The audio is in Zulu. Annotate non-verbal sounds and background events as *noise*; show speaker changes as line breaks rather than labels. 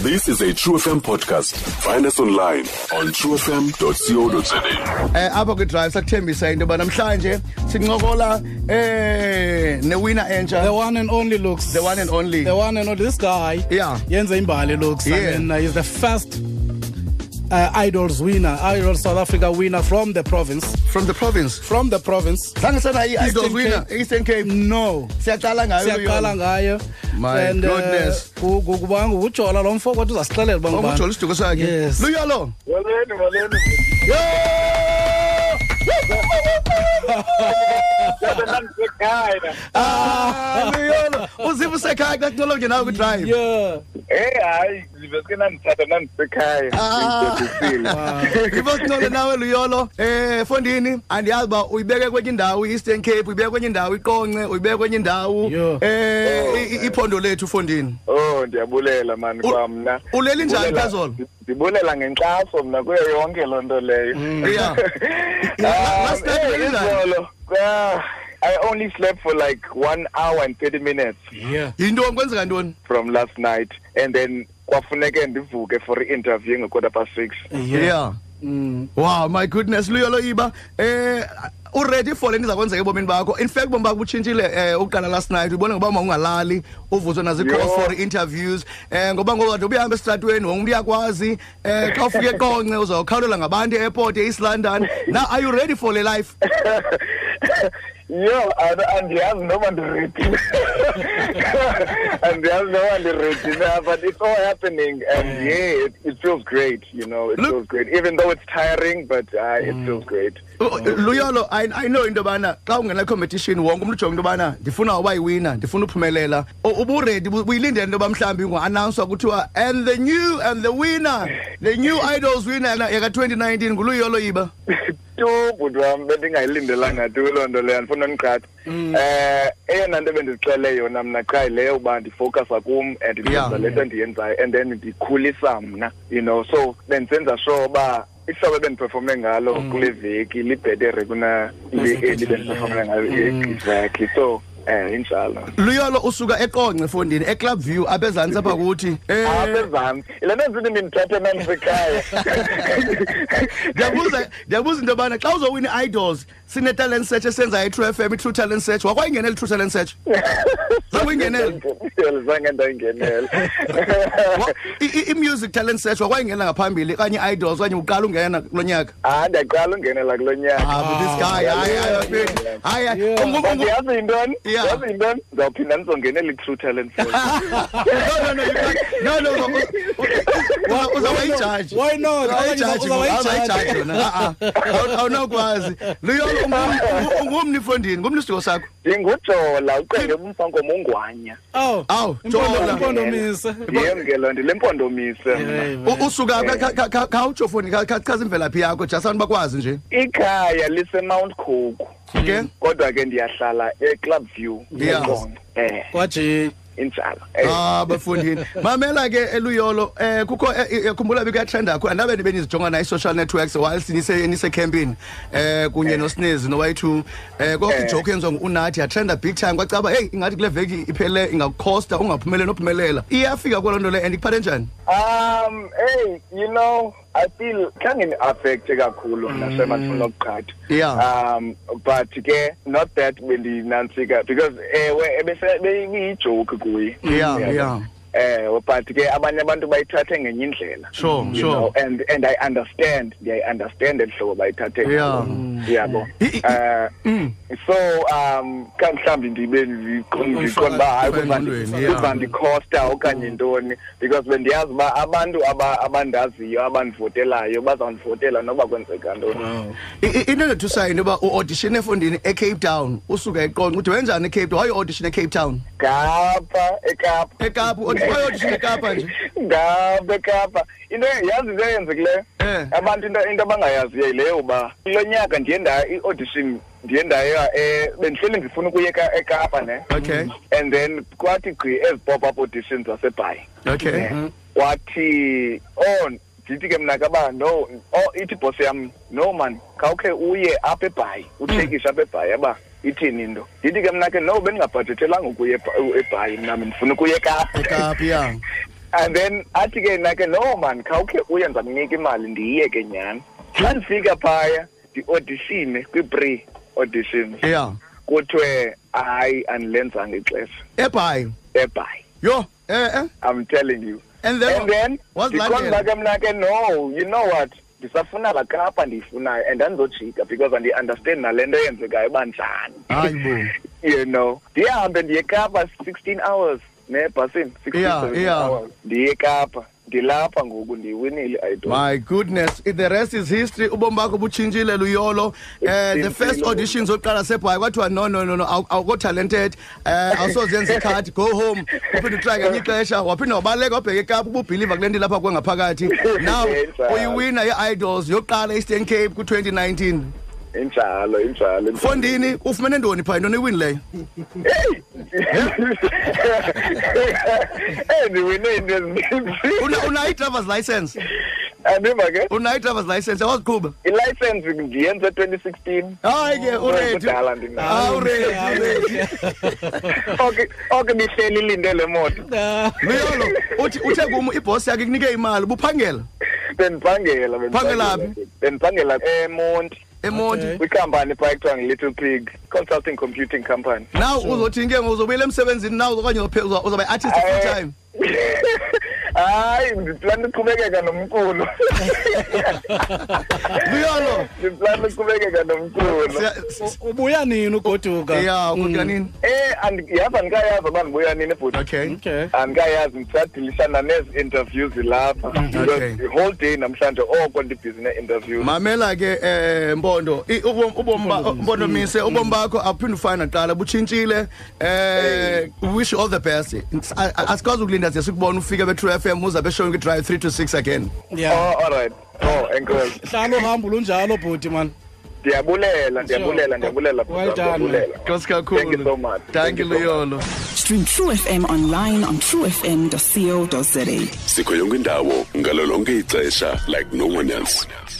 This is a True FM podcast. Find us online on truefm.co.za.
eh apho ke drive sakuthembisa into yoba namhlanje sincokola eh newina
The
entsha
one and only looks.
The one and only.
The one and only. This guy.
Yeah.
Yenza Imbali looks.
Yeah.
And uh, he's the first uh, Idols winner, Idol South Africa winner from the province.
from the province
From the province.
zange sana
Eastern
i-idols winner
Cape.
eastern cape
No.
siyaqala ngayo
siyaqala
kuyona.
ngayo
My
and uh,
goodness.
kubanga ujola lo mfo kwathi uzasixelela uba
Ngoba
ngubani.
ujola Oh, isiduko sakhe
Yes.
luyolo
Molweni, molweni. Kodwa ndandisekhaya.
Ah, luyolo uziva usekhaya xa kunqolo nje nawe kwi-drive
yeah
Eh hayi, ngibeske nandithatha ndandisekhaya. Ngidedisile.
ibo sinole nawe luyolo eh fondini andiyazi uba uyibeke kwenye indawo i-eastern cape uyibeke kwenye indawo iqonce uyibeke kwenye indawo
Yho.
eh i- i- iphondo lethu fondini
Oh, ndiyabulela man
U-
kwamna.
ulele njani
Ndibulela-
phezolo?
Ndibulela ngenkxaso mna kuyo yonke loo nto leyo. *laughs*
Mm.
yeah
Um,
Last night
eh,
ulele njani?
izolo, ah, I only slept for like one hour and 30 minutes
yeah
yintoni kwenzeka ntoni
from last night and then kwafuneke ndivuke for i-interview ngekwata past six
yeah
Mm.
wow my goodness luyolo iba eh uready for leni izakwenzeka ebomini bakho in fact bomi bakho butshintshile um ukuqala last night ubone ngoba uma ungalali uvuzwe
Yho.
nazii-call for i-interviews um ngoba ngoba kade ubuyahamba esitratweni wonke umntu uyakwazi um xa ufike konce uzawukhawulela ngabantu e-airport e-east london now are you ready for le life
yo and- andiyazi noma *laughs* ndiredile andiyazi noma ndiredile na, but it's all happening and yeah it, it feels great you know it
Look-
feels great even though it's tiring but uh, it feels great
U- luyolo Oh, i I know into yobana xa ungena competition wonke umntu ujonge into yobana ndifuna uba yiwina ndifuna uphumelela U- uburedi bu- buyilindele into yoba mhlawumbi ungu-anawunswa kuthiwa and the new and the winner the new idols winner na- yaka-2019 nguluyolo yiba
tu bhuti wam bendingayilindelanga tu loo nto leyo andifuna ndigqatha um
Mm.
eyona nto bendizixele yona mna qha yileyo uba ndifowukhasa kum and
Yeah.
ndenza le nto ndiyenzayo and then ndikhulisa mna you know so bendisenza sure uba ihlobo ebendiphefome ngalo
Mm.
kule veki libhetere kunali-eli bendiphefome
Mm.
ngalo exactly so um injalo
luyolo usuka ekonce efondini eclub view apha ezantsi apha kuthi um
apezantsi le nto nzini ndindithathe nandisekhaya
*laughs*
*laughs*
ndiyabuza ndiyabuza into yobana xa uzowina i-idols sinetalent search esenzayo i-true f m i-true talent search wakwayingenela i-true talent search zawuyingenela
zange
Wa- *laughs*
ndayingenela
i- i- i-music talent search wakwayingena ngaphambili okanye i-idols okanye uqala ungena kulo nyaka
hayi Ah, ndiyaqala ungenela kulo
Ah,
nyaka
but this guy, hayi, hayi, hayi, hayi, hayi.
Yeah.
Ungu- ungu-
ndiyazi yintoni
Yeah.
ndiyazi yintoni ndizawuphinda ndizongenela i-true talent Fest.
No, no, no, you can't- no, no, uza- uza- uza- uzawayijaji.
Why not?
Uzawayijaji,
Uzawayijaji.
uzawayijaji wena. Ah, ah. Awu- awunawukwazi luyolo ungu- ungumni fondini ngumni isiduko sakho
ndingujola uqende umfankomo ungwanya
oh
Aw, Jola.
impondomise
yem ke loo nto le mpondomise
Yeah,
mna
U- usuka phi? Kha- kha- kha- khawutsho fondini kha- kha- chaza imvelaphi yakho jasani bakwazi nje
ikhaya lisemount coke
ke
kodwa ke ndiyahlala eclub view
Yeah.
eQonce. eh
kwaje
injalo eh.
ah bafundini mamela ke eluyolo eh kukho eh, eh, khumbula bekuyatrenda kakhulu andabe nibe nizijonga na i-social networks whilst nise- nisecampini eh kunye nosnezi nowayithu eh koko ijoke yenziwa ngunathi yatrenda big time kwacaba heyi ingathi kule veki iphele ingakukhosta ungaphumeleli nophumelela iyafika kwaloo nto le and ikuphathe njani
Um, hey, you know, I feel kind of affected kakhulu nasemathulo okuqhatha.
Mm. Yeah.
Um, but ke not that bendinantsika because ewe ebese beyijoke kuye.
Yeah,
Uyabo?
yeah.
Eh, but ke abanye abantu bayithathe ngenye indlela.
sure
You know, and and I understand. I understand that hlobo bayithathe.
Yeah. Mm.
Yabo. Uh, so um ka mhlambi ndibe ndiqonda ba hayi
Engqondweni, yeah. Mm.
kuba ndikhosta okanye ntoni because bendiyazi uba abantu aba- abandaziyo abandivotelayo bazawundivotela noba kwenzeka ntoni.
eh, I- i- into endethusayo into yoba uaudishine efondini ecape town usuka eqonqa ude wenjani ecape town wayeaudition ecape town
Kapa ekapa.
ekapa
*laughs*
wayeaudition ekapa nje
ngapha ekapa into yazi into eyenzekileyo
Eh.
abantu into into abangayaziyo yileyo uba kulo nyaka ndiye ndaya i-audition ndiye ndaya eh, bendihleli ndifuna ukuya eka- ekapa ne
okay
and then kwathi gqi ezi pop up auditions zasebhayi
okay
Eh, wathi oh ndithi ke mna ke uba no oh ithi ibhosi yam no man khawukhe uye apha ebhayi utshekishe apha ebhayi aba ithini into ndithi ke mna ke no bendingabhajethelanga ukuya ebha- ebhayi mna bendifuna ukuye kapa
ekapa yeah
and then athi ke mna ke no man khawukhe uye ndizamnika imali ndiyiyeke nyhani xa ndifika phaya ndiodishine kwi-pre audition
yeah
kuthiwe hayi andilenzanga ixesha
ebhayi
ebhayi
yho eh eh
i'm telling you
And then-
and then
wazilandela?
ndikhomba ke mna ke no you know what ndisafuna la kapa ndiyifunayo and andizojika because andiyiunderstand nale nto yenzekayo uba njani
hayi bo
you know ndihambe ndiye kapa 16 hours nebhasini 16
Yeah,
17
yeah.
hours ndiye kapa ndilapha ngoku ndiyiwinile idol
my goodness If the rest is history ubomi bakho butshintshile luyolo um the first
Butshintshile.
auditions zokuqala sebhayi kwathiwa no no no no awu- awukho talented um awusozenza ikhadi go home uphinde utraye ngenye ixesha waphinda wabaleka wabheka ekapa ububhiliva kule nto ilapha kwengaphakathi now
Enjalo.
uyiwina ye-idols yokuqala eastern cape ku-2019
injalo injalo
fondini ufumene ntoni phaa intoni iwinileyo
*laughs* Eh, ndiwine into ezininzi
Una- unayo i-drivers license
andiva ke
unayo i-drivers license yawaziqhuba
ilayisensi ndiyenze 2016
hayi ke uredi
Kudala ndinayo.
Ah, uredi uredi
oke oke bihleli ilinde le moto
uh,
luyolo uthi uthe kum ibhosi yakhe kunike imali ubuphangela
bendiphangela
Phangela
bendiphangela bendiphangela emonti
emonti
Okay.
eh, kwikhampani phaa ekuthiwa ngi-little pig consulting computing company *laughs*
now uzothini ke ngoku uzobuyela emsebenzini now okanye uzophe- uza- uzawuba yi-artist
Eh.
full time
hayi ndiplana uqhubekeka nomculo *laughs*
luyolo
ndiplana uqhubekeka nomculo
siya- s- s-
U- ubuya nini ugoduka
ya
Mm.
kukanini
eh andi- yazi andikayazi uba ndibuya nini ebhuti
okay
okay
andikayazi ndisadilishana nezi-interviews lapha
Mm,
because the whole day namhlanje oko ndibhizi ne-interviews
mamela ke eh mpondo i- ubo- ubomi ba- mpondo mise
Mm.
ubomi bakho awuphinde ufana naqala butshintshile eh wish you all the best A- a- asikwazi ukulinda ze sikubona ufike be-true f m uzabe showing i-drive three to six again
yeah
oh all right oh enkosi
hlala uhambo lunjalo bhuti man
ndiyabulela ndiyabulela ndiyabulela
Well
bhuti,
done, man.
ndiyabulela
nkosi
Thank you so much.
kakhulu
Thank
thanki
you so much.
luyolo
Stream True FM online on truefm.co.za.
sikho yonke indawo ngalo lonke ixesha like no one else